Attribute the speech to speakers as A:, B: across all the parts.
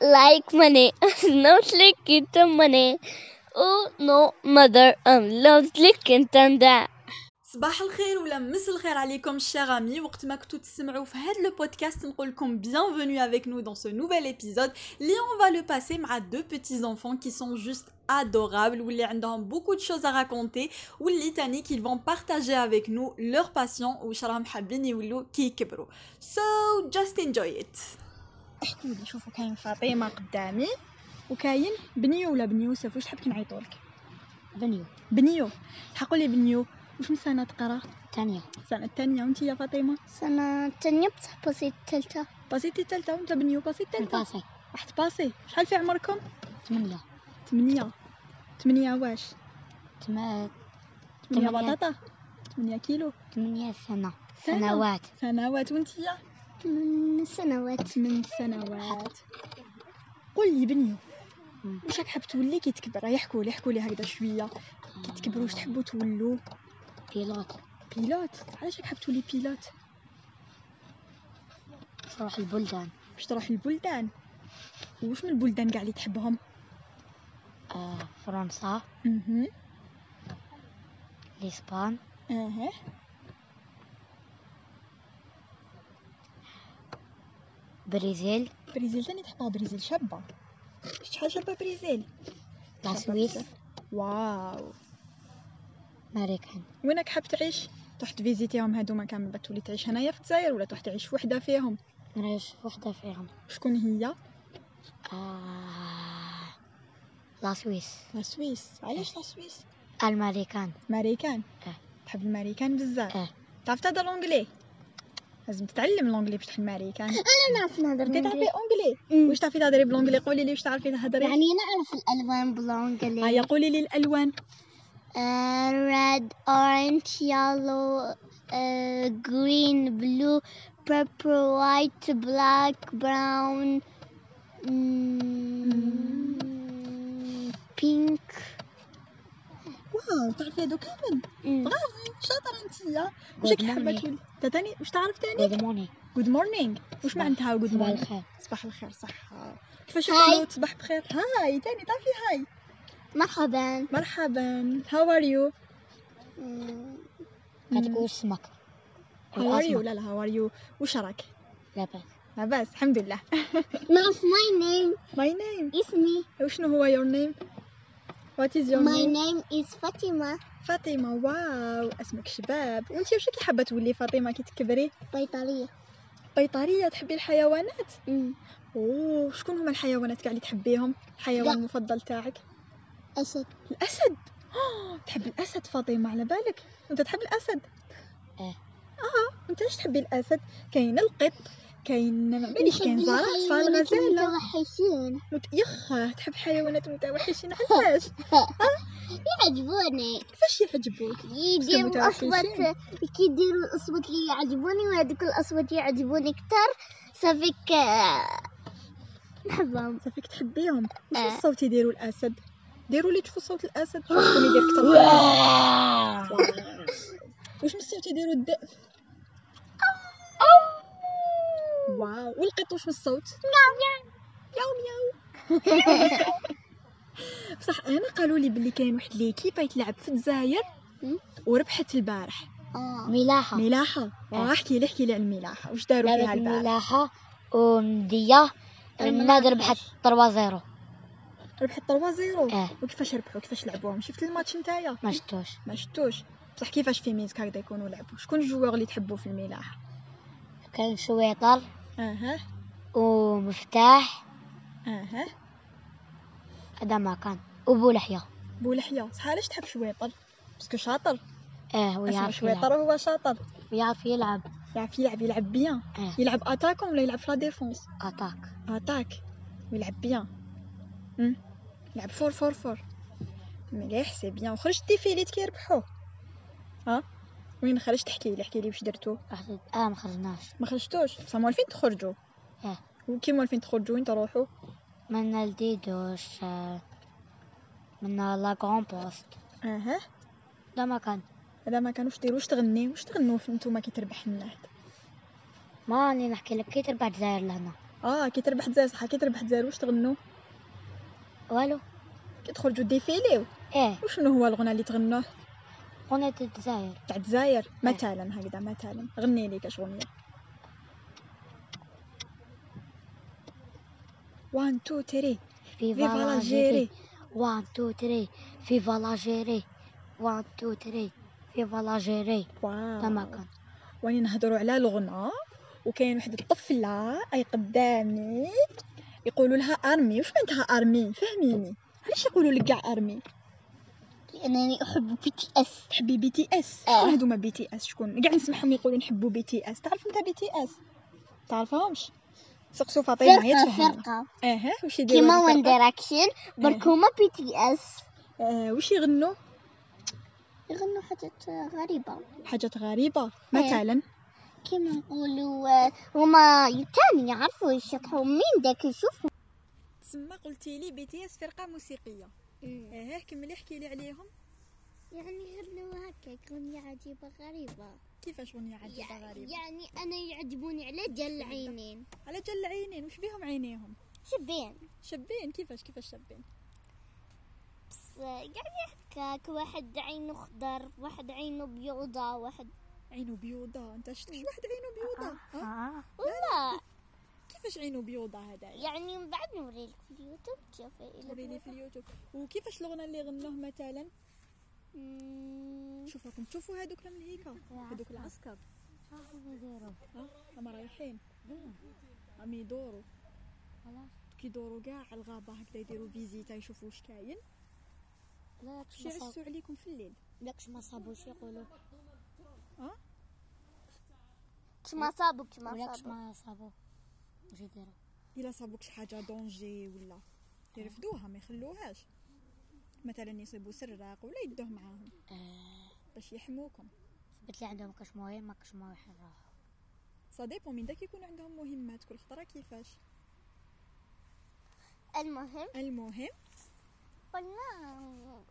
A: like money, not like kitten money. Oh no, mother, I'm lovely kitten that.
B: صباح الخير ولا مس الخير عليكم chers amis وقت ما كنتو تسمعوا في هذا البودكاست نقول لكم bienvenue avec nous dans ce nouvel épisode اللي on va le passer مع deux petits enfants qui sont juste adorables واللي عندهم beaucoup de choses à raconter واللي تاني qu'ils vont partager avec nous leurs passions وش راهم حابين يولوا كي يكبروا so just enjoy it
C: احكي لي شوفوا كاين فاطمه قدامي وكاين بنيو ولا بنيو سيف واش تحب كي نعيطولك
D: بنيو
C: بنيو تحقوا لي بنيو واش من سنه تقرا
D: تانية
C: السنه الثانيه وانت يا فاطمه
E: سنة تانية بصح بسيط تالتة
C: باسيتي الثالثه وانت بنيو باسيتي الثالثه
D: الباسي
C: واحد باسي شحال في عمركم
D: ثمانية
C: ثمانية ثمانية واش
D: تما
C: ثمانية
D: ثمانية.
C: بطاطا ثمانية كيلو
D: ثمانية سنة
C: سنة.
D: سنوات
C: سنوات وانت يا
E: ثمان سنوات
C: ثمان سنوات قول لي بنيو
D: مم.
C: واش راك حاب تولي كي تكبر يحكوا لي يحكوا لي هكذا شويه كي تكبروا واش تحبوا تولوا
D: بيلوت
C: بيلوت علاش راك حاب تولي بيلوت
D: تروح البلدان
C: باش تروح للبلدان واش من البلدان كاع اللي تحبهم
D: آه، فرنسا
C: اها
D: الإسبان
C: اها
D: برازيل
C: بريزيل ثاني تحبها بريزيل شابه شحال شابه بريزيل
D: لا
C: شابة
D: سويس
C: بزاف. واو
D: أمريكان
C: وينك حاب تعيش تروح تفيزيتيهم هادوما كامل بعد تولي تعيش هنايا في الجزائر ولا تروح تعيش وحده فيهم
D: نعيش في وحدة فيهم
C: شكون هي
D: آه، لا سويس
C: لا سويس علاش لا سويس أه.
D: الماريكان
C: ماريكان
D: اه.
C: تحب الماريكان بزاف
D: اه.
C: تعرف تهضر لونجلي لازم تتعلم لونجلي باش تحل ماريكان
E: نعرف نهضر
C: انت تعرفي
E: بلونجلي
C: اونجلي
E: أمم.
C: واش تعرفي تهضري بلونجلي قولي لي واش تعرفي تهضري
E: يعني نعرف الألوان بلونجلي
C: هيا قولي لي الالوان
E: آه، ريد أورنج يالو آه، جرين بلو بيربل وايت بلاك براون mm, بينك
C: واو تعرفي هادو كامل شاطره انتيا واش
D: Good
C: راكي حابه
D: morning.
C: تولي تا تاني واش تعرف تاني
D: جود مورنينغ
C: جود مورنينغ واش
D: صباح-
C: معناتها جود
D: صباح
C: مورنينغ
D: الخير
C: صباح الخير صح كيفاش
E: هاي.
C: يقولوا صباح بخير هاي تاني تعرفي هاي
E: مرحبا
C: مرحبا هاو ار يو
D: كتقول اسمك
C: هاو ار يو
D: والأسماك.
C: لا لا هاو ار يو واش راك
D: لاباس
C: لاباس الحمد لله
E: نعرف ماي نيم
C: ماي نيم
E: اسمي
C: وشنو هو يور نيم وات از يور
E: ماي
C: نيم
E: نيم از فاطمة
C: فاطمه واو اسمك شباب وانت واش راكي حابه تولي فاطمه كي تكبري
E: بيطرية
C: بيطريه تحبي الحيوانات
E: أمم.
C: اوه شكون هما الحيوانات كاع اللي تحبيهم الحيوان
E: لا.
C: المفضل تاعك
E: أسد
C: الاسد آه، تحب الاسد فاطمه على بالك انت تحب الاسد
D: إيه.
C: اه انت ايش تحبي الاسد كاين القط كاين ما باليش كاين
E: نحب
C: زرافه
E: الحيوانات
C: الغزاله
E: المتوحشين
C: مت- يخه تحب حيوانات متوحشين علاش
E: يعجبوني
C: كيفاش يعجبوك
E: يديروا
C: متوحشين.
E: الأصوات كي يديروا الأصوات اللي يعجبوني وهذوك الأصوات يعجبوني كتر صافيك آه، نحبهم
C: صافيك تحبيهم واش
E: آه.
C: الصوت يديروا الاسد ديروا لي تشوفوا صوت الاسد شكون يدير كثر واش من الصوت يديروا الذئب واو والقط واش من الصوت ياو ياو بصح انا قالوا لي بلي كاين واحد ليكيبا يتلعب في الجزائر
E: مم.
C: وربحت البارح
E: آه.
D: ملاحة
C: ملاحه
D: آه.
C: احكي لي احكي لي على الملاحه واش داروا
D: لعبة
C: فيها البارح
D: الملاحة ومدية النادر بحال 3 0
C: ربحت 3 0
E: آه.
D: اه
C: وكيفاش ربحوا كيفاش لعبوهم شفت الماتش نتايا
D: ما شفتوش
C: ما شفتوش بصح كيفاش في ميزك هكذا يكونوا لعبوا شكون الجوار اللي تحبوا في الملاح
D: كان شويطر
C: اها
D: ومفتاح
C: اها
D: هذا ما كان وبولحية
C: بولحية شحال تحب شويطر باسكو شاطر
D: اه
C: اسمع
D: ويعرف يلعب
C: شويطر هو شاطر
D: ويعرف يلعب
C: يعرف يلعب يلعب بيان
D: اه
C: يلعب اتاكون ولا يلعب في لا ديفونس
D: اتاك
C: اتاك ويلعب بيان أم. يلعب فور فور فور مليح سي بيان وخرجتي فيليت كي ربحوه ها وين خرجت احكي لي احكي لي واش درتو
D: واحد اه ما خرجناش
C: ما خرجتوش بصح موالفين تخرجوا
D: اه.
C: وكي موالفين تخرجوا وين تروحوا
D: ما نلديدوش آه، من لا كرون بوست
C: اها
D: هذا ما كان
C: هذا ما كانوش ديروا واش تغني واش تغنوا في- نتوما كي تربح النهد
D: ما راني نحكي لك كي تربح الجزائر لهنا
F: اه كي تربح دزار صح كي تربح دزار واش تغنوا
D: والو
F: كي تخرجوا ديفيليو
D: ايه
F: وشنو هو الغنى اللي تغنوه
D: قناة الجزائر
F: تاع الجزائر مثلا هكذا مثلا غني ليك اش غنية 1 2 3
D: فيفا
F: فيفا
D: لاجيري
F: الجيري
D: 1 2 3 فيفا لاجيري 1 2 3 فيفا لاجيري
F: واو
D: تما كان
F: واني نهضروا على الغنى وكاين واحد الطفله اي قدامي يقولوا لها ارمي واش معناتها ارمي فهميني علاش يقولوا لك كاع ارمي
E: لأنني أحب بي تي إس
F: تحبي بي تي اس
E: آه.
F: شكون هادوما بي تي اس شكون كاع نسمعهم يقولوا نحبوا بي تي اس تعرف انت بي تي اس تعرفهمش سقسوا
C: طيب،
F: فاطمه هي
E: فرقة
F: تفهم
E: فرقة
F: اها واش يديروا
E: كيما
F: هاد
E: وان
F: الفرقة؟
E: دايركشن برك هما بي تي إس
F: آه، واش يغنوا
E: يغنوا حاجات غريبة
F: حاجات
E: إيه.
F: غريبه مثلا
E: كيما نقولوا آه، هما تاني يعرفوا يشطحوا مين داك يشوف
C: تسمى قلتي لي بي تي اس فرقه موسيقيه اه كملي احكي لي عليهم
E: إيه. يعني يغنوا هكاك غنية عجيبة غريبة
C: كيفاش غنية عجيبة غريبة
E: يعني أنا يعجبوني على جل عينين
C: على جل عينين وش بيهم عينيهم
E: شبين
C: شابين كيفاش كيفاش شابين
E: بس يعني هكاك واحد عينه خضر واحد عينه بيضة واحد
C: عينه بيوضة انت شفتش واحد عينه بيوضة
E: آه.
C: ها؟
E: والله
C: كيفاش عينه بيوضة هذا
E: يعني من بعد نوريلك في اليوتيوب تشوفي إلا
C: وريني في
E: بيضة.
C: اليوتيوب وكيفاش الغنى اللي غنوه مثلا
E: مم،
C: شوف راكم تشوفوا هذوك من هيك هذوك العسكر ها هما رايحين عم يدوروا كيدوروا كاع على الغابة هكذا يديروا فيزيتا يشوفوا واش كاين باش يعسوا عليكم في الليل
D: ياكش ما صابوش يقولوا
E: كش ما صابوا كش ما
D: وياكش
E: صابوا
D: ما صابو واش يديروا
C: الا صابوك شي حاجه دونجي ولا يرفدوها ما يخلوهاش مثلا يصيبوا سراق ولا يدوه معاهم باش يحموكم
D: قلت لي عندهم كاش مهم ما كاش مهم يحرها
C: صديقو من داك يكون عندهم مهمات كل خطره كيفاش
E: المهم
C: المهم
E: قلنا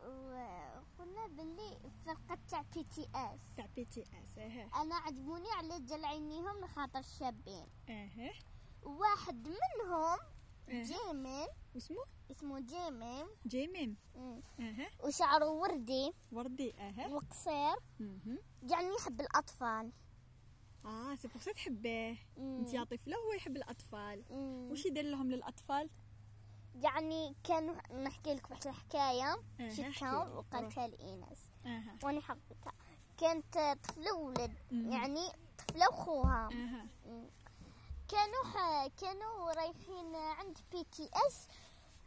E: و- قلنا باللي الفرقة تاع بي تي اس
C: تاع بي تي اس اه
E: انا عجبوني على جل عينيهم لخاطر شابين
C: اه
E: واحد منهم
C: اه
E: جيمين
C: واسمو
E: اسمه جيمين
C: جيميم
E: مم.
C: اه
E: وشعره وردي
C: وردي اه
E: وقصير
C: مهم.
E: يعني يحب الاطفال
C: اه سي بوغ سا تحبيه
E: مم.
C: انت يا طفله وهو يحب الاطفال
E: مم.
C: وش يدير لهم للاطفال
E: يعني كان نحكي لك واحد الحكايه
C: إيه،
E: شفتها
C: احكي.
E: وقالتها لإنس
C: اه
E: وانا حبيتها كانت طفله وولد
C: مم.
E: يعني طفله وخوها
C: اه
E: كانوا ح... كانوا رايحين عند بي تي اس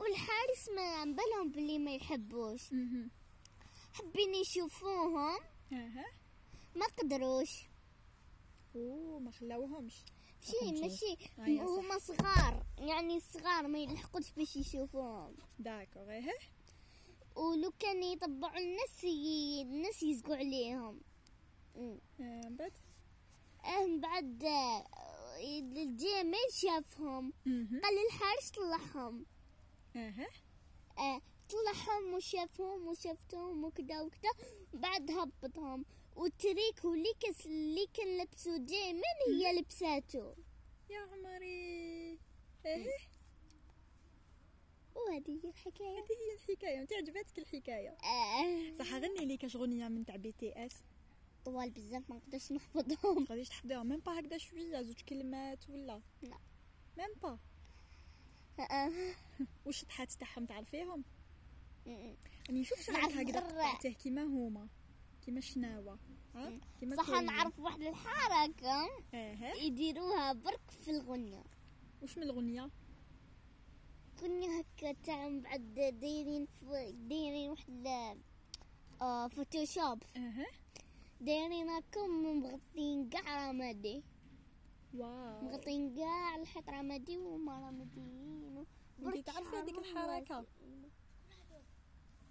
E: والحارس ما بالهم بلي ما يحبوش
C: مهم.
E: حابين يشوفوهم
C: اه
E: ما قدروش
C: اوه ما خلاوهمش
E: شي ماشي
C: أيوة صح.
E: هما صغار يعني صغار ما يلحقوش باش يشوفوهم
C: داكوغ اه
E: ولو كان يطبعوا الناس ي... الناس يزقوا عليهم أمم.
C: آه، من بعد
E: اه من بعد آه، الجيمين شافهم
C: مهم.
E: قال للحارس طلعهم
C: اها
E: آه، طلعهم وشافهم وشفتهم وكذا وكذا بعد هبطهم والتريك واللي كس اللي كان لبسو جيمين هي لبساته
C: يا عمري
E: إيه.
C: ايه
E: وهذه هي الحكاية
C: هذه هي الحكايه انت عجبتك الحكايه
E: آه
C: صح غني لي كاش غنيه من تاع بي تي اس
E: طوال بزاف ما نقدرش نحفظهم
C: ما غاديش تحضرها ميم با هكذا شويه زوج كلمات ولا
E: لا.
C: ميم با
E: آه.
C: وش الشطحات تاعهم تعرفيهم
E: م-
C: راني نشوف شعرك
E: نعرف
C: هكذا
E: غرة.
C: قطعته كيما هما كيما شناوه ها كيما
E: صح
C: كوين.
E: نعرف واحد الحركة
C: اها
E: يديروها برك في الغنية
C: وش من الغنيه
E: غنية هكا تاع من بعد دايرين ف- دايرين واحد ال- آه فوتوشوب
C: اها
E: دايرين هكا مغطين كاع رمادي
C: واو
E: مغطين كاع الحيط رمادي وما رماديين
C: انت تعرفي هذيك الحركه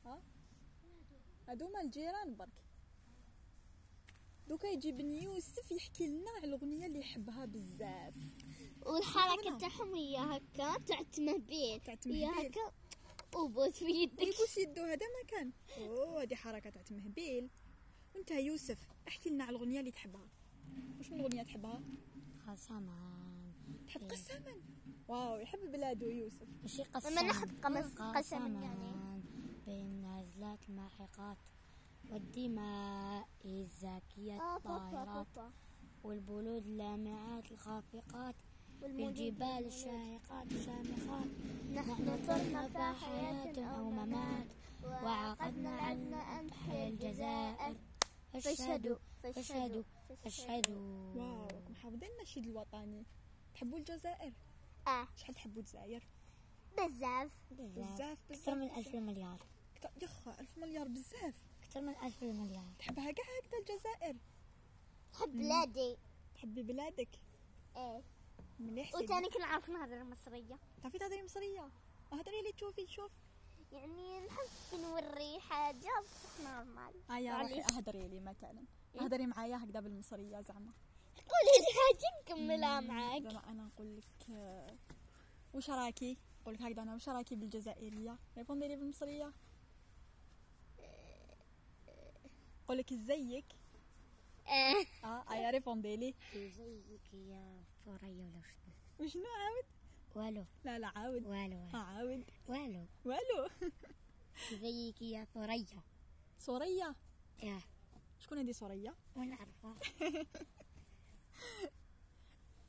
C: ها هذوما الجيران برك دوكا يجي بني يوسف يحكي لنا على الاغنيه اللي يحبها بزاف
E: والحركه تاعهم هي هكا تاع التمهبيل
C: تاع التمهبيل.
E: هي هكا وبوس في يدك
C: ويبوس يدو هذا ما كان اوه هذه حركه تاع تمهبيل وانت يا يوسف احكي لنا على الاغنيه اللي تحبها واش من اغنيه تحبها
D: خلص امان
C: إيه. تحب قسما واو يحب بلاده يوسف
D: ماشي قسم
E: لما نحط قمص قسم يعني
D: قسما بين نازلات الماحقات والدماء الزاكية
E: اه بابا
D: الطائرات
E: بابا
D: والبلود اللامعات الخافقات
E: والمولود
D: والجبال
E: والمولود.
D: الشاهقات الشامخات
E: نحن
D: نطرنا
E: طرنا
D: فحياة أو ممات وعقدنا عن أن تحيا الجزائر فاشهدوا فاشهدوا فاشهدوا
C: واو راكم حافظين النشيد الوطني تحبوا الجزائر
E: اه
C: شحال تحبوا الجزائر
E: بزاف
C: بزاف
D: أكثر من
C: بزاف
D: ألف مليار
C: كت- يخا ألف مليار بزاف
D: أكثر من ألف مليار
C: تحبها كاع هكذا الجزائر
E: حب بلادي
C: تحبي بلادك
E: ايه
C: مليح سيدي
E: وتاني كنعرف نهضر مصرية
C: تعرفي تهضري مصريه اهضري اللي تشوفي شوف
E: يعني نحب نوري يعني حاجة بصح نورمال
C: هيا آه، روحي
E: معليش.
C: اهضري لي مثلا اهضري معايا هكذا بالمصريه زعما
E: قولي لي حاجة نكملها معاك
C: زعما انا نقول لك آه، وش راكي نقول لك هكذا انا وش راكي بالجزائريه ريبوندي لي بالمصريه نقول لك ازيك
E: آه.
C: اه ايا ريبوندي لي
D: زيك يا ثريا ولا شنو
C: وشنو عاود
D: والو
C: لا لا عاود
D: والو
C: آه، عاود
D: والو
C: والو
D: زيك يا ثريا
C: سوريه
D: ياه
C: شكون هذه سوريه
D: ونعرفها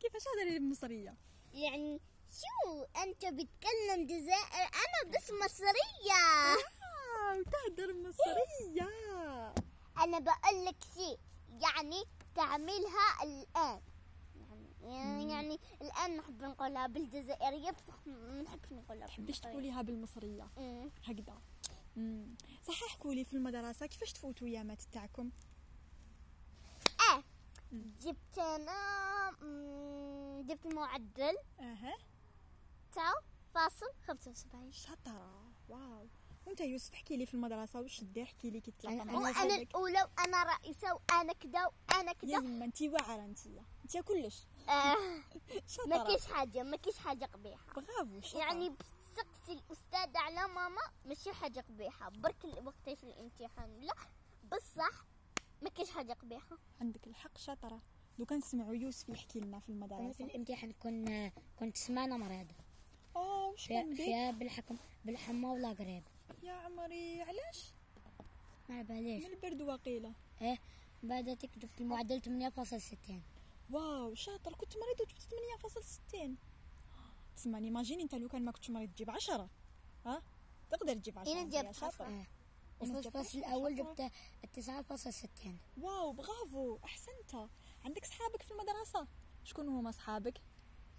C: كيفاش هضري لي بالمصريه
E: يعني شو انت بتكلم جزائر انا بس مصرية
C: آه، تهدر مصريه
E: انا بقول لك شيء يعني تعملها الان يعني, يعني الان نحب نقولها بالجزائرية بصح ما نحبش نقولها
C: تحبيش
E: بالمصرية.
C: تقوليها بالمصريه
E: أمم.
C: هكذا أمم. صحيح كولي في المدرسه كيفاش تفوتوا يامات تاعكم
E: اه جبت انا مم، جبت معدل
C: اها
E: تاع فاصل 75
C: شطره واو وانت يوسف احكي لي في المدرسه واش دير احكي لي كي
E: يعني
C: تلاقى مع
E: وانا
C: صحابك
E: الاولى وانا رئيسة وانا كدا وانا
C: يا
E: كدا
C: يما انت واعره انت انت كلش
E: آه ما
C: شطره
E: كاش حاجة ما كاش حاجة قبيحة
C: برافو شطره
E: يعني بسقسي الأستاذ على ماما ماشي حاجة قبيحة برك ال- وقتاش الامتحان لا بصح ما كاش حاجة قبيحة
C: عندك الحق شطره لو كان نسمعوا يوسف يحكي لنا في
D: أنا في
C: المدرسه
D: الامتحان كنا كنت سمانة مريضة
C: اه واش كان
D: فيها-
C: بيك
D: فيها بالحكم بالحمى ولا قريب
C: يا عمري علاش
D: ما على
C: من
D: باليش
C: البرد وقيله
D: ايه بعد تكتب المعدل 8.60
C: واو شاطر كنت مريض وجبت 8.60 تسمعني ماجيني انت لو كان ما كنتش مريض تجيب 10 ها تقدر تجيب 10
E: إلا إيه، جبت
C: شاطر
D: اه وفي الفصل الاول جبت 9.60
C: واو برافو احسنت عندك صحابك في المدرسه شكون هما صحابك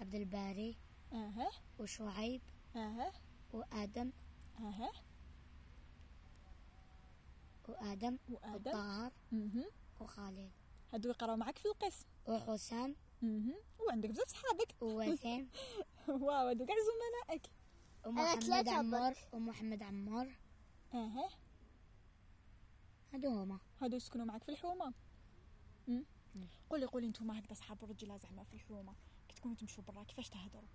D: عبد الباري
C: اها
D: وشعيب
C: اها
D: وادم
C: اها
D: وادم
C: وادم
D: وطاهر
C: اها
D: وخالد
C: هادو يقراو معك في القسم
D: وحسام
C: اها وعندك بزاف صحابك
D: ووسام
C: واو هادو كاع زملائك
D: ومحمد
E: ثلاثة
D: عمار
E: برك.
D: ومحمد عمار
C: اها
D: هادو هما
C: هادو يسكنوا معك في الحومه أم؟ قولي قولي نتوما هكذا صحاب الرجاله زعما في الحومه كي تكونوا تمشوا برا كيفاش تهضروا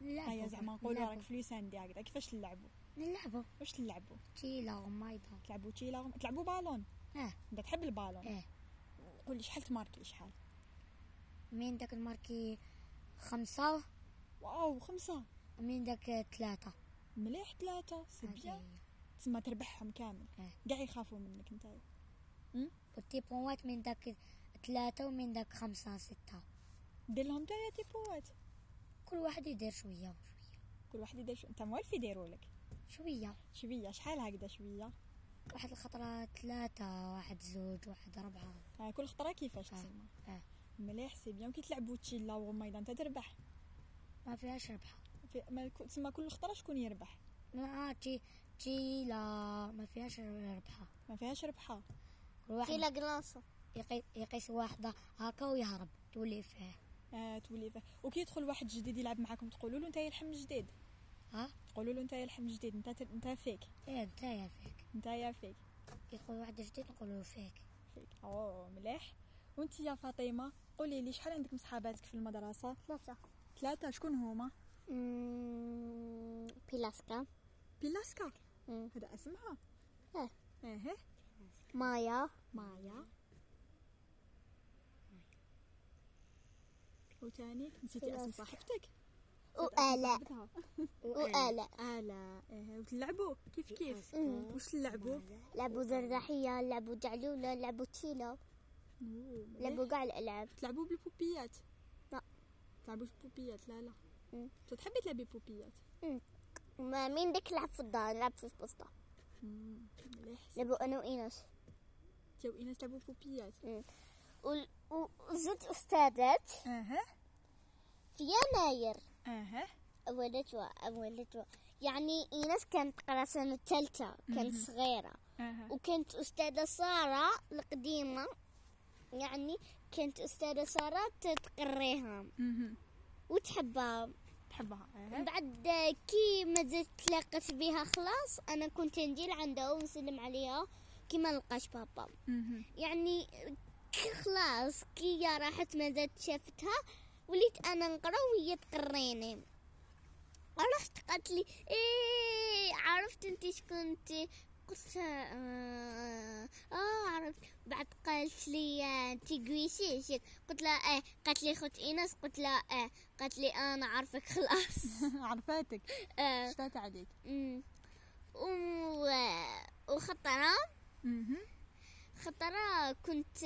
D: نلعبوا
C: هيا زعما نقولوا راك في ليساندي هكذا كيفاش تلعبوا
D: نلعبوا
C: واش تلعبوا
D: تيلا غمايضة
C: تلعبوا تيلا غم- تلعبوا بالون
D: اه
C: انت تحب البالون
D: اه.
C: قولي شحال تماركي شحال
D: من داك الماركي خمسة
C: واو خمسة
D: ومن داك ثلاثة
C: مليح ثلاثة سي بيان تسمى تربحهم كامل
D: اه.
C: كاع يخافوا منك انت
D: وتي بوات من داك ثلاثة ومن داك خمسة ستة
C: دير لهم تايا تي بوات
D: كل واحد يدير شوية وشوية
C: كل واحد يدير شو انت موالف يديروا لك
D: شوية
C: شوية شحال هكذا شوية
D: واحد الخطرة ثلاثة واحد زوج واحد ربعة
C: ها آه، كل خطرة كيفاش
D: اه.
C: تسمى
D: اه.
C: مليح سي بيان كي تلعبوا تشيلا وغميضة انت تربح
D: ما فيهاش ربحة
C: في... ما كو- تسمى كل خطرة شكون يربح
D: ما تي تي لا ما فيهاش ربحة
C: ما فيهاش ربحة
D: كل واحد
E: تيلا قلاصة
D: يقي- يقيس واحدة هكا ويهرب تولي فيه
C: آه تولي فيه. وكي يدخل واحد جديد يلعب معاكم تقولوا له انت يا الحم جديد
D: ها
C: تقولوا له انت يا الحم جديد انت انت فيك
D: ايه انت يا فيك
C: انت يا فيك
D: يقول واحد جديد نقولو فيك
C: فيك اوه مليح وانت يا فاطمه قولي لي شحال عندك من صحاباتك في المدرسه
E: ثلاثة
C: ثلاثه شكون هما
E: أمم، بيلاسكا
C: بيلاسكا
E: أمم.
C: هذا اسمها إيه.
E: اه.
C: اها
E: مايا
C: مايا وتاني نسيتي اسم
E: بيلاسكا.
C: صاحبتك
E: وآلاء وآلاء
C: آلاء إيه، وتلعبوا كيف كيف
E: مم.
C: واش تلعبوا
E: لعبوا زرزحية لعبوا جعلولة لعبوا تشيلة لعبوا قاع الألعاب
C: تلعبوا بالبوبيات
E: لا.
C: تلعبوش بوبيات لا لا
E: مم.
C: انت تحبي تلعبي بوبيات
E: ما مين ديك لعب في الدار نلعب في البسطة
C: مليح
E: لعبوا أنا وإيناس
C: انت وإناس تلعبوا بوبيات
E: وال- و- وزوج أستاذات
C: اها
E: في يناير
C: اها
E: ولدتها ولدتها يعني إيناس كانت قرا سنة ثالثة كانت صغيرة
C: اها
E: وكانت أستاذة سارة القديمة يعني كانت أستاذة سارة تتقريها
C: مهم.
E: وتحبها
C: تحبها إيه.
E: من
C: اها
E: بعد كي ما زلت تلاقت بها خلاص أنا كنت نجي لعندها ونسلم عليها كي ما لقاش بابا
C: مهم.
E: يعني كي خلاص كي هي راحت ما زلت شافتها وليت أنا نقرا وهي تقريني رحت قالت لي ايه عرفت انت شكنتي قلت لها، اه, آه عرفت بعد قالت لي آه، انت قويشي شك قلت لها ايه قالت لي خوت ايناس قلت لها ايه قالت لي انا عارفك خلاص
C: عرفاتك
E: آه.
C: شتات عليك
E: أمم. و... وخطرة
C: مهم.
E: خطرة كنت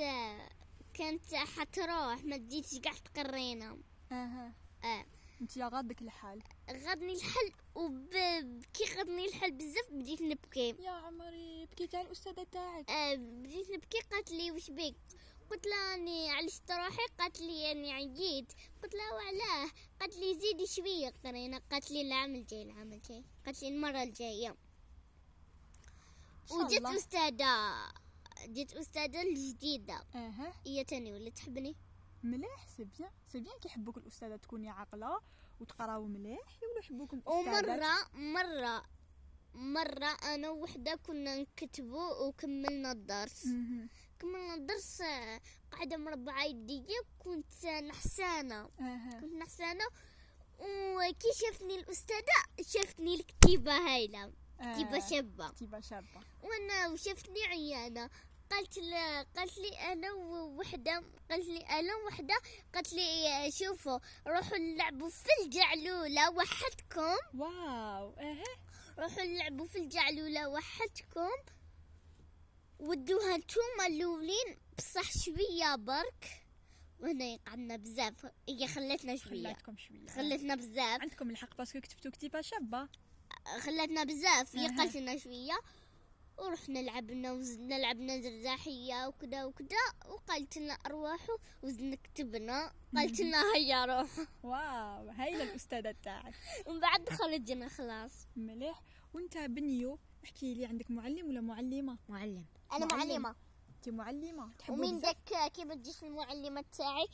E: كانت حتروح ما تجيش قاع تقرينا
C: اها
E: آه.
C: انت يا غادك الحال
E: غضني الحل وكي غضني الحل بزاف بديت نبكي
C: يا عمري بكيت على الاستاذه تاعك
E: آه، بديت نبكي قالت لي وش بك قلت لها اني عالجت روحي قالت لي اني عييت قلت لها وعلاه قالت لي زيدي شويه قرينا قالت لي العام الجاي العام الجاي قالت لي المره الجايه
C: الله.
E: وجت استاذه جت استاذه الجديده
C: اها
E: هي تاني ولا تحبني
C: مليح سي بيان سي بيان كيحبوك الاستاذه تكوني عاقله وتقراو مليح يولو يحبوكم الاستاذات
E: ومره مره مره انا وحده كنا نكتبوا وكملنا الدرس
C: مهم.
E: كملنا الدرس آه، قاعده مربعه يديا كنت آه، نحسانه
C: اها
E: كنت نحسانة وكي شافني الأستاذة شافتني الكتيبة هايلة كتيبة
C: آه.
E: شابة
C: كتيبة شابه
E: وأنا وشافتني عيانة قالت لي قالت لي انا وحده قالت لي انا وحده قالت لي آه، شوفوا روحوا لعبوا في الجعلوله وحدكم
C: واو اها
E: روحوا لعبوا في الجعلوله وحدكم ودوها نتوما الاولين بصح شويه برك وهنا يقعدنا بزاف هي خلتنا شويه
C: خلاتكم شويه
E: خلتنا بزاف
C: عندكم الحق باسكو كتبتو كتيبة شابة
E: خلاتنا بزاف
C: أها.
E: يقاتلنا شويه ورحنا لعبنا وزدنا لعبنا زرزاحية وكذا وكذا وقالت لنا أرواحو وزدنا كتبنا قالت لنا هيا روح
C: واو هايلة الأستاذة تاعك
E: من بعد خرجنا خلاص
C: مليح وانت بنيو احكي لي عندك معلم ولا معلمة
D: معلم
E: أنا
C: معلم.
E: معلمة
C: انت معلمة تحبوا
E: ومن
C: بزاف؟
E: ذاك كي ما تجيش المعلمة تاعي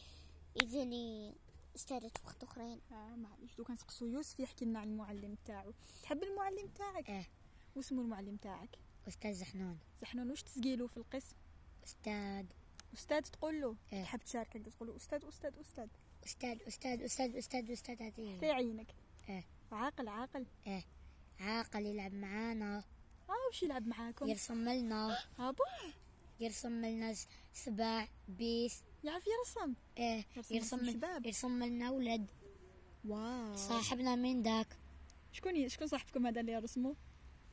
E: إذني استاذت وقت أخرين
C: آه معليش دوكا نسقسو يوسف يحكي لنا عن المعلم تاعو تحب المعلم تاعك
D: إيه.
C: واسمو المعلم تاعك
D: استاذ زحنون
C: زحنون واش تسقيلو في القسم
D: استاذ
C: استاذ تقول له
D: إيه.
C: تحب تشاركك تقول له استاذ استاذ استاذ
D: استاذ استاذ استاذ استاذ استاذ
C: في
D: هذه
C: عينك
D: إيه.
C: عاقل عاقل
D: عاقل يلعب معانا
C: اه وش يلعب معاكم
D: يرسم لنا
C: ابو
D: يرسم لنا س- سباع بيس
C: يعرف يرسم
D: إيه
C: يرسم لنا
D: يرسم
C: شباب. آه.
D: يرسم لنا ولد
C: واو
D: صاحبنا من ذاك
C: شكون شكون صاحبكم هذا اللي يرسمو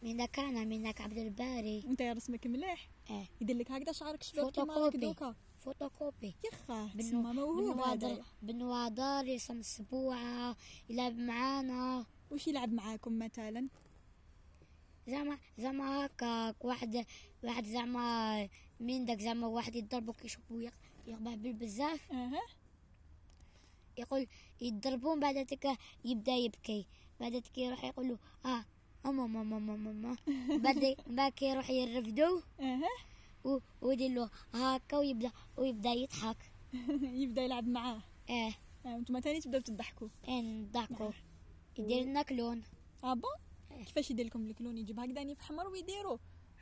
D: من ذاك انا من ذاك عبد الباري
C: وانت رسمك مليح
D: إيه.
C: يدير لك هكذا شعرك شباب كيما هكا
D: فوتوكوبي
C: دوكا
D: فوتوكوبي
C: يخا
D: بنو-
C: تسمى موهوب
D: بنوادر
C: هذا
D: بنوادر يرسم السبوعة يلعب معانا
C: وش يلعب معاكم مثلا
D: زعما زعما هكاك واحد واحد زعما من داك زعما واحد يضربو كيشوف ويق- يقبع بيه بزاف
C: اها
D: يقول يضربون بعد تك يبدا يبكي بعد تك يروح يقول له اه اما ماما ماما ماما أمم، بعد بعد كي يروح يرفدو
C: اها
D: و- ويدير له هكا ويبدا ويبدا يضحك
C: يبدا يلعب معاه
D: اه
C: آه، وانتم ثاني تبداو تضحكوا
D: ان ضحكوا يدير لنا كلون
C: اه بون كيفاش يدير لكم الكلون يجيب هكذا في حمر ويديرو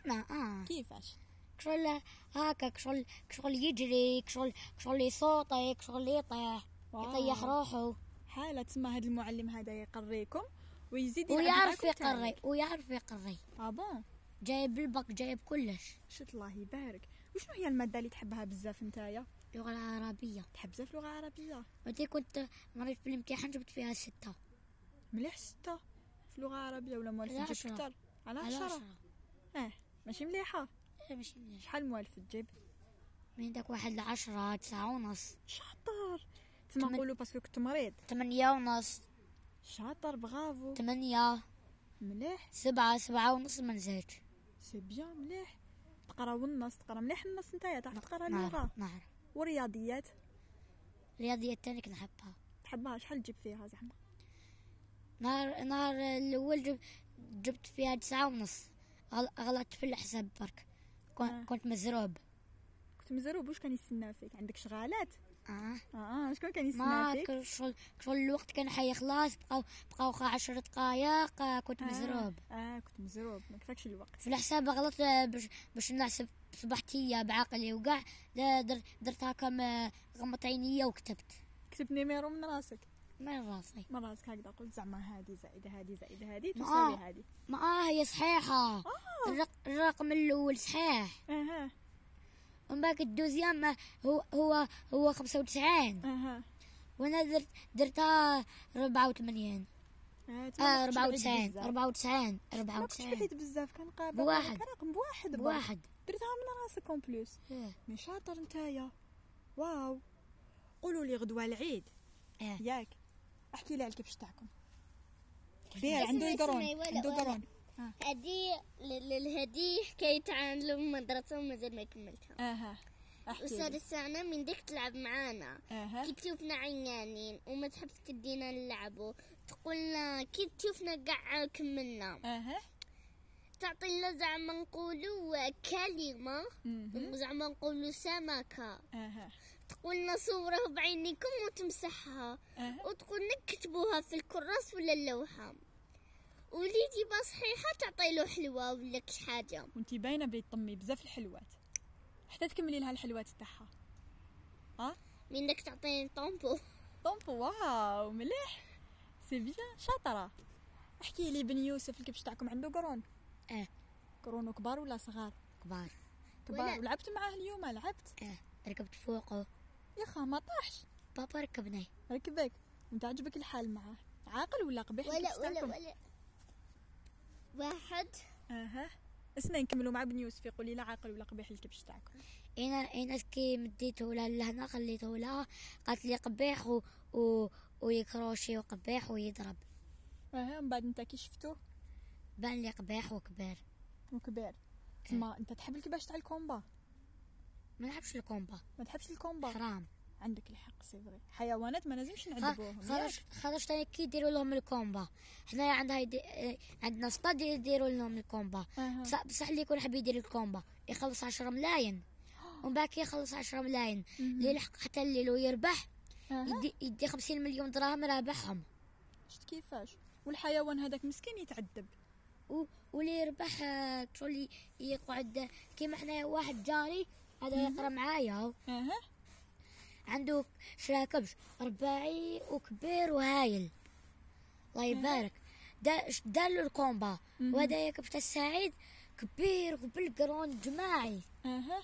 D: ما اه
C: كيفاش
D: شغل هكاك شغل شغل يجري شغل شغل يصوتي شغل يطيح
C: واو.
D: يطيح روحه
C: حالة تسمى هذا المعلم هذا يقريكم ويزيد يلعب
D: ويعرف
C: معاكم تاني.
D: يقري ويعرف يقري
C: اه بون
D: جايب البق جايب كلش
C: شت الله يبارك وشنو هي المادة اللي تحبها بزاف نتايا
D: اللغة العربية
C: تحب بزاف لغة عربية
D: وقتي كنت مريت في الامتحان جبت فيها ستة
C: مليح ستة في اللغة العربية ولا
D: على
C: موالف تجيب
D: عشرة.
C: كتر على
D: على
C: عشرة
D: عشرة
C: ماشي مليحة
D: لا مش منيح
C: شحال موالف تجيب
D: من عندك واحد لعشرة تسعة ونص
C: شاطر تما
D: تمن-
C: نقولوا باسكو كنت مريض
D: ثمانية ونص
C: شاطر برافو
D: ثمانية
C: مليح
D: سبعة سبعة ونص ما نزهدش
C: سي بيان مليح تقرا والنص تقرا مليح النص نتايا تعرف تقرا اللغة
D: نعرف نعرف
C: والرياضيات
D: الرياضية التانية كنحبها
C: تحبها شحال تجيب فيها زعما
D: نهار نهار الأول جب- جبت فيها تسعة ونص غل- غلطت في الحساب برك
C: آه.
D: كون- كنت مزروب
C: كنت مزروب واش كان يستنى فيك عندك شغالات
D: اه
C: اه, آه. شكون كان يستنى
D: ما
C: فيك
D: كل شغل شغل الوقت كان حي خلاص بقاو بقاو خا عشر دقايق آه، كنت مزروب
C: اه, آه كنت مزروب ما كفاكش الوقت
D: في الحساب غلط آه، باش باش نحسب صباحتية بعقلي وكاع دا- در- درتها كم آه، غمضت عينيا وكتبت
C: كتب نيميرو من راسك
D: من راسي
C: من راسك هكذا قلت زعما هادي زائد هادي زائد هادي
D: آه.
C: تساوي هادي
D: ما آه هي صحيحة
C: آه. Ah,
D: الرق- الرقم الأول صحيح
C: اها
D: ومن بعد الدوزيام هو هو هو 95
C: اها
D: وانا درت درتها 84
C: آه،
E: Ah,
D: آه
C: تما ما كنتش بعيد
D: 94
C: بزاف.
D: 94
C: ما كنتش
D: 94
C: بعيد بزاف كان قابل
D: بواحد.
C: رقم بواحد برك.
D: واحد
C: درتها من راسك اون بلوس
D: إيه.
C: مي شاطر نتايا واو قولوا لي غدوه العيد
D: إيه.
C: ياك احكي لي على الكبش تاعكم كبير عنده
E: اسمعي-
C: يدرون
E: اسمعي، ولا-
C: عنده
E: ولا.
C: درون
E: هذه للهدية حكاية عن المدرسة ومازال ما كملتها
C: اها احكي لي.
E: الأستاذ تاعنا من ديك تلعب معانا
C: اها
E: كي تشوفنا عيانين وما تحبش تدينا نلعبوا تقولنا كي تشوفنا قاع كملنا
C: اها
E: تعطي لنا زعما نقولوا كلمة
C: مهم.
E: زعما نقولوا سمكة
C: اها
E: تقولنا صوره بعينيكم وتمسحها
C: اها
E: وتقولنا كتبوها في الكراس ولا اللوحة واللي يجيبها صحيحة تعطي له حلوة ولا كش حاجة
C: وانتي باينه بلي تطمي بزاف الحلوات حتى تكملي لها الحلوات تاعها
E: من داك تعطيني طومبو
C: طنط واو مليح سي بيان شاطره احكي لي بن يوسف الكبش تاعكم عنده قرون
D: إيه.
C: قرون كبار ولا صغار
D: كبار
C: كبار
E: ولا-
C: ولعبت معاه اليوم لعبت
D: إيه. ركبت فوقه
C: يا خا ما طاحش
D: بابا ركبني
C: ركبك انت عجبك الحال معاه عاقل ولا قبيح
E: ولا
C: الكبش
E: ولا
C: تاعكم؟
E: ولا واحد
C: اها اسنا نكملوا مع بن يوسف يقول لي لا عاقل ولا قبيح الكبش تاعكم
D: انا انا كي مديته لها لهنا خليته لها قالت لي قبيح و... و... ويكروشي وقبيح ويضرب
C: اها من بعد انت كي شفتوه
D: بان لي قبيح وكبير
C: وكبير
E: إيه.
C: تما انت تحب الكباش تاع الكومبا
D: ما نحبش الكومبا
C: ما تحبش الكومبا
D: حرام
C: عندك الحق سي فري حيوانات ما لازمش نعذبوهم
D: خ-
C: ياك؟
D: خرج خرج تاني كي يديروا لهم الكومبا حنايا عندها يدي... آه، عندنا سطاد يديروا لهم الكومبا
E: أه.
C: أها.
D: بصح بصح اللي يكون حاب يدير الكومبا يخلص 10 ملاين
E: أه.
D: ومن بعد كي يخلص 10 ملاين اللي يلحق حتى الليل ويربح
E: أه.
C: أها.
D: يدي يدي 50 مليون دراهم رابحهم
C: شفت كيفاش والحيوان هذاك مسكين يتعذب
D: و- واللي يربح آه، شغل ي- يقعد آه، كيما حنا واحد جاري هذا يقرا معايا
C: اها
D: عنده شرا كبش رباعي وكبير وهايل الله يبارك دا ش- دارلو الكومبا وهذا يا كبش السعيد كبير وبالقرون جماعي
C: اها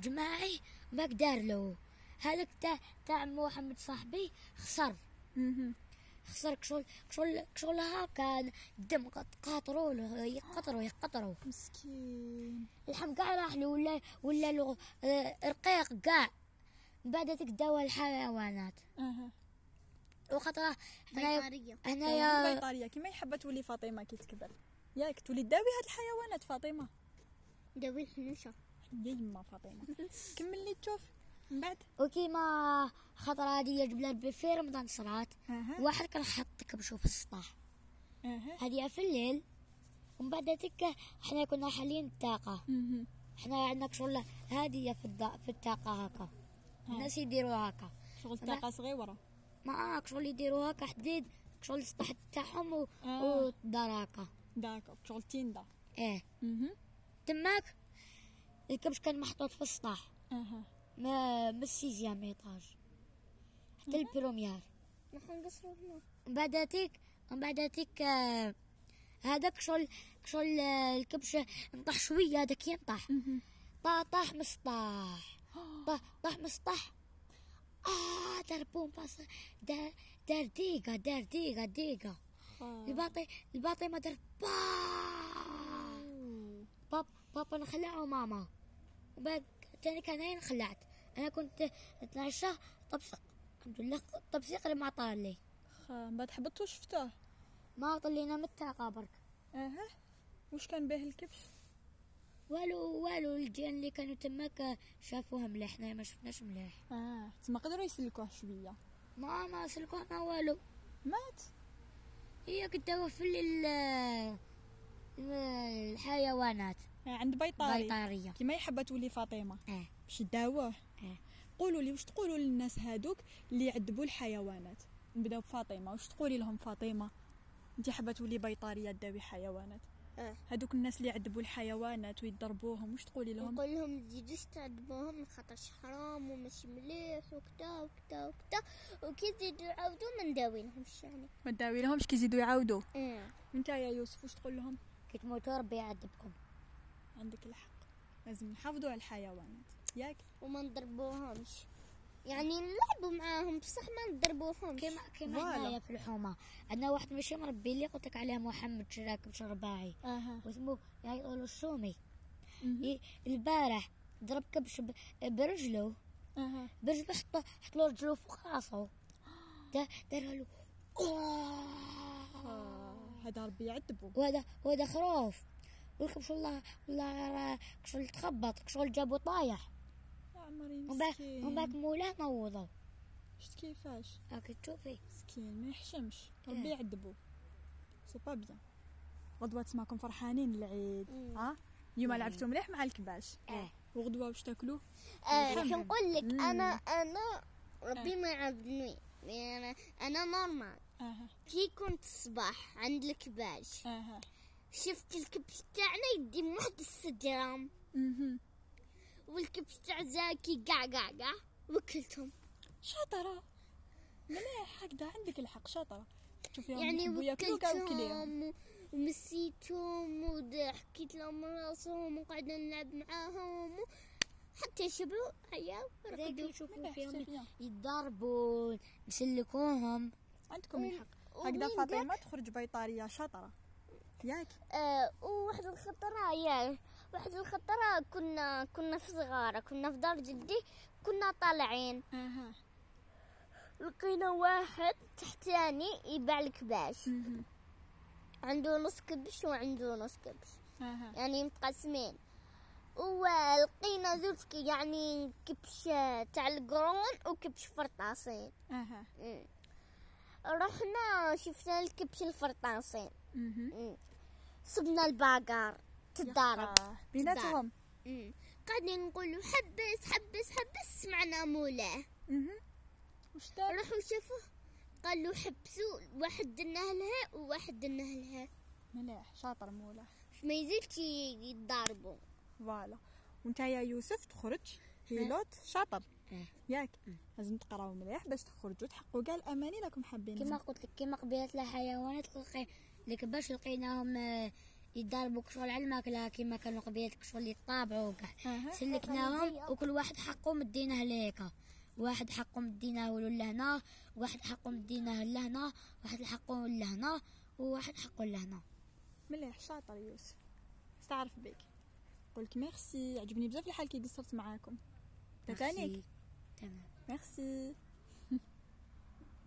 D: جماعي ما دارلو هذاك تاع تاع محمد صاحبي خسر
C: مهم.
D: خسر كشغل كشغل كشغل هاكا الدم قاطرو له يقطرو يقطرو
C: مسكين
D: اللحم كاع راح له ولا ولا له آه، رقيق كاع بعد هذيك دوا الحيوانات
C: اها
D: وخطره هنايا
E: بيطارية
D: هنايا
C: البيطاريه كيما يحب تولي فاطمه كي تكبر ياك تولي تداوي هاد الحيوانات فاطمه
E: داوي الحنوشة
C: يا يما فاطمه كمل لي تشوف من بعد
D: وكيما خطره هذه جبلها في رمضان صرات
C: اها
D: واحد كان حط كبشو في السطح
C: اها
D: هذه في الليل ومن بعد تك حنا كنا حالين الطاقه
C: مهم.
D: حنا عندنا شغل هاديه في الض- في الطاقه هكا الناس يديروا هكا
C: شغل طاقه صغيره
D: ما شغل يديروا هكا حديد شغل السطح تاعهم و-
C: آه.
D: والدار هكا
C: داك شغل تيندا
D: ايه
C: اها
D: تماك الكبش كان محطوط في السطح
C: اها
D: ما من السيزيام ايطاج حتى البروميار
E: نحن نقصروا هنا
D: من بعد تيك من بعد تيك آه، هذاك شغل شغل آه، الكبش نطح شويه هذاك ينطح
C: مهم.
D: طاح طاح من السطح طاح طاح آه، من السطح اه دار بومبا ص- دار دار ديقه دار ديقه ديقه الباطي الباطي دار با باب بابا نخلع وماما وبعد تاني كان هين خلعت انا كنت 12 طبسق الحمد لله الطبسيق اللي ما طار لي
C: خا، من بعد حبطت وشفتوه
D: ما طلينا متى قابرك
C: اها واش كان باه الكبش
D: والو والو الجيران اللي كانوا تماك شافوها مليح حنا ما شفناش مليح
C: اه تما قدروا يسلكوه شويه
D: ما ما سلكوه ما والو
C: مات
D: هي كنت في ال- آه، ال- الحيوانات
C: آه، عند بيطاري
D: بيطارية
C: كيما يحب تولي فاطمه
D: اه
C: باش داوه
D: آه.
C: قولوا لي واش تقولوا للناس هادوك اللي يعذبوا الحيوانات نبداو بفاطمه واش تقولي لهم فاطمه انت حابه تولي بيطاريه تداوي حيوانات
E: آه.
C: هادوك الناس اللي يعذبوا الحيوانات ويضربوهم واش تقولي لهم
E: نقول لهم تزيدوش تعذبوهم خاطرش حرام ومش مليح وكتا وكتا وكتا وكي تزيدو يعاودو ما نداويلهمش يعني
C: ما تداوي لهمش كي يزيدوا يعاودوا
E: أمم.
C: انت يا يوسف واش تقول لهم
D: كي تموتوا ربي يعذبكم
C: عندك الحق لازم نحافظوا على الحيوانات ياك
E: وما نضربوهمش يعني نلعبوا معاهم بصح ما نضربوهمش
D: كيما كيما
C: فوالا.
D: هنايا في الحومه عندنا واحد ماشي مربي اللي قلت لك عليه محمد شراكب شرباعي
C: اها
D: واسمه يقولوا الشومي
C: مهم.
D: ي- البارح ضرب كبش ب- برجله
C: اها
D: برجله حط حط له رجله فوق راسه دا- دارها له
C: آه، هذا ربي يعذبه
D: وهذا وهذا خروف والكبش والله والله راه شغل تخبط شغل جابو طايح
C: يا عمري
D: ومن بعد ومن بعد
C: مسكين
D: مولاه نوضه
C: شفت كيفاش
D: راكي تشوفي
C: مسكين ما يحشمش ربي
D: إيه.
C: يعذبو سي با بيان غدوة تسمعكم فرحانين العيد ها اليوم لعبتوا مليح مع الكباش
D: إيه.
C: وغدوة واش تاكلوا
E: آه
C: نحمد.
E: كنقول لك
C: مم.
E: انا انا ربي ما يعاقبني انا انا نورمال
C: اها
E: كي كنت الصباح عند الكباش
C: اها
E: شفت الكبش تاعنا يدي من واحد السجرام
C: مهم.
E: والكبش تاع زاكي قاع قاع قاع وكلتهم
C: شاطرة مليح هكذا عندك الحق شاطرة شوفي
E: يعني
C: يحبوا ياكلوا كاع وكليهم
E: وكلتهم ومسيتهم وحكيت لهم راسهم وقعدنا نلعب معاهم حتى شبعوا عياو
D: راكي تشوفوا
C: مليح، سي
D: فيهم إيه.
C: بيان.
D: يتضربون مسلكوهم
C: عندكم الحق هكذا
E: ومين قال-
C: فاطمة تخرج بيطارية شاطرة ياك
E: آه وواحد الخطرة يا واحد الخطرة كنا كنا في صغارة كنا في دار جدي كنا طالعين
C: اها
E: لقينا واحد تحتاني يباع الكباش
C: مهم.
E: عنده نص كبش وعنده نص كبش
C: اها
E: يعني متقسمين ولقينا زوج كي- يعني كبش تاع القرون وكبش فرطاسين
C: اها
E: أمم. رحنا شفنا الكبش الفرطاسين
C: مهم.
E: أمم. صبنا الباقار تضارب
C: آه، بيناتهم
E: أمم. قاعدين نقولوا حبس حبس حبس سمعنا مولاه
C: مهم. واش دار
E: راحوا شافوه قالوا حبسوا واحد النهلها وواحد النهلها
C: مليح شاطر مولا
E: ما يزيدش يتضاربوا
C: فوالا وانت يا يوسف تخرج بيلوت شاطر
D: نعم. إيه.
C: ياك لازم تقراو مليح باش تخرجوا تحققوا كاع الاماني راكم حابين
D: كما قلت لك كما قبيلات الحيوانات لقي لك باش لقيناهم آه، يتضاربوا كشغل على الماكله كما كانوا قبيلات كشغل يطابعوا
C: أها.
D: كاع سلكناهم وكل واحد حقه مديناه ليك واحد حقه مديناه له لهنا واحد حقه مديناه لهنا واحد حقه لهنا وواحد حقه لهنا
C: مليح شاطر يوسف استعرف بك قولك ميرسي عجبني بزاف الحال كي قصرت معاكم تتانيك
D: تمام
C: ميرسي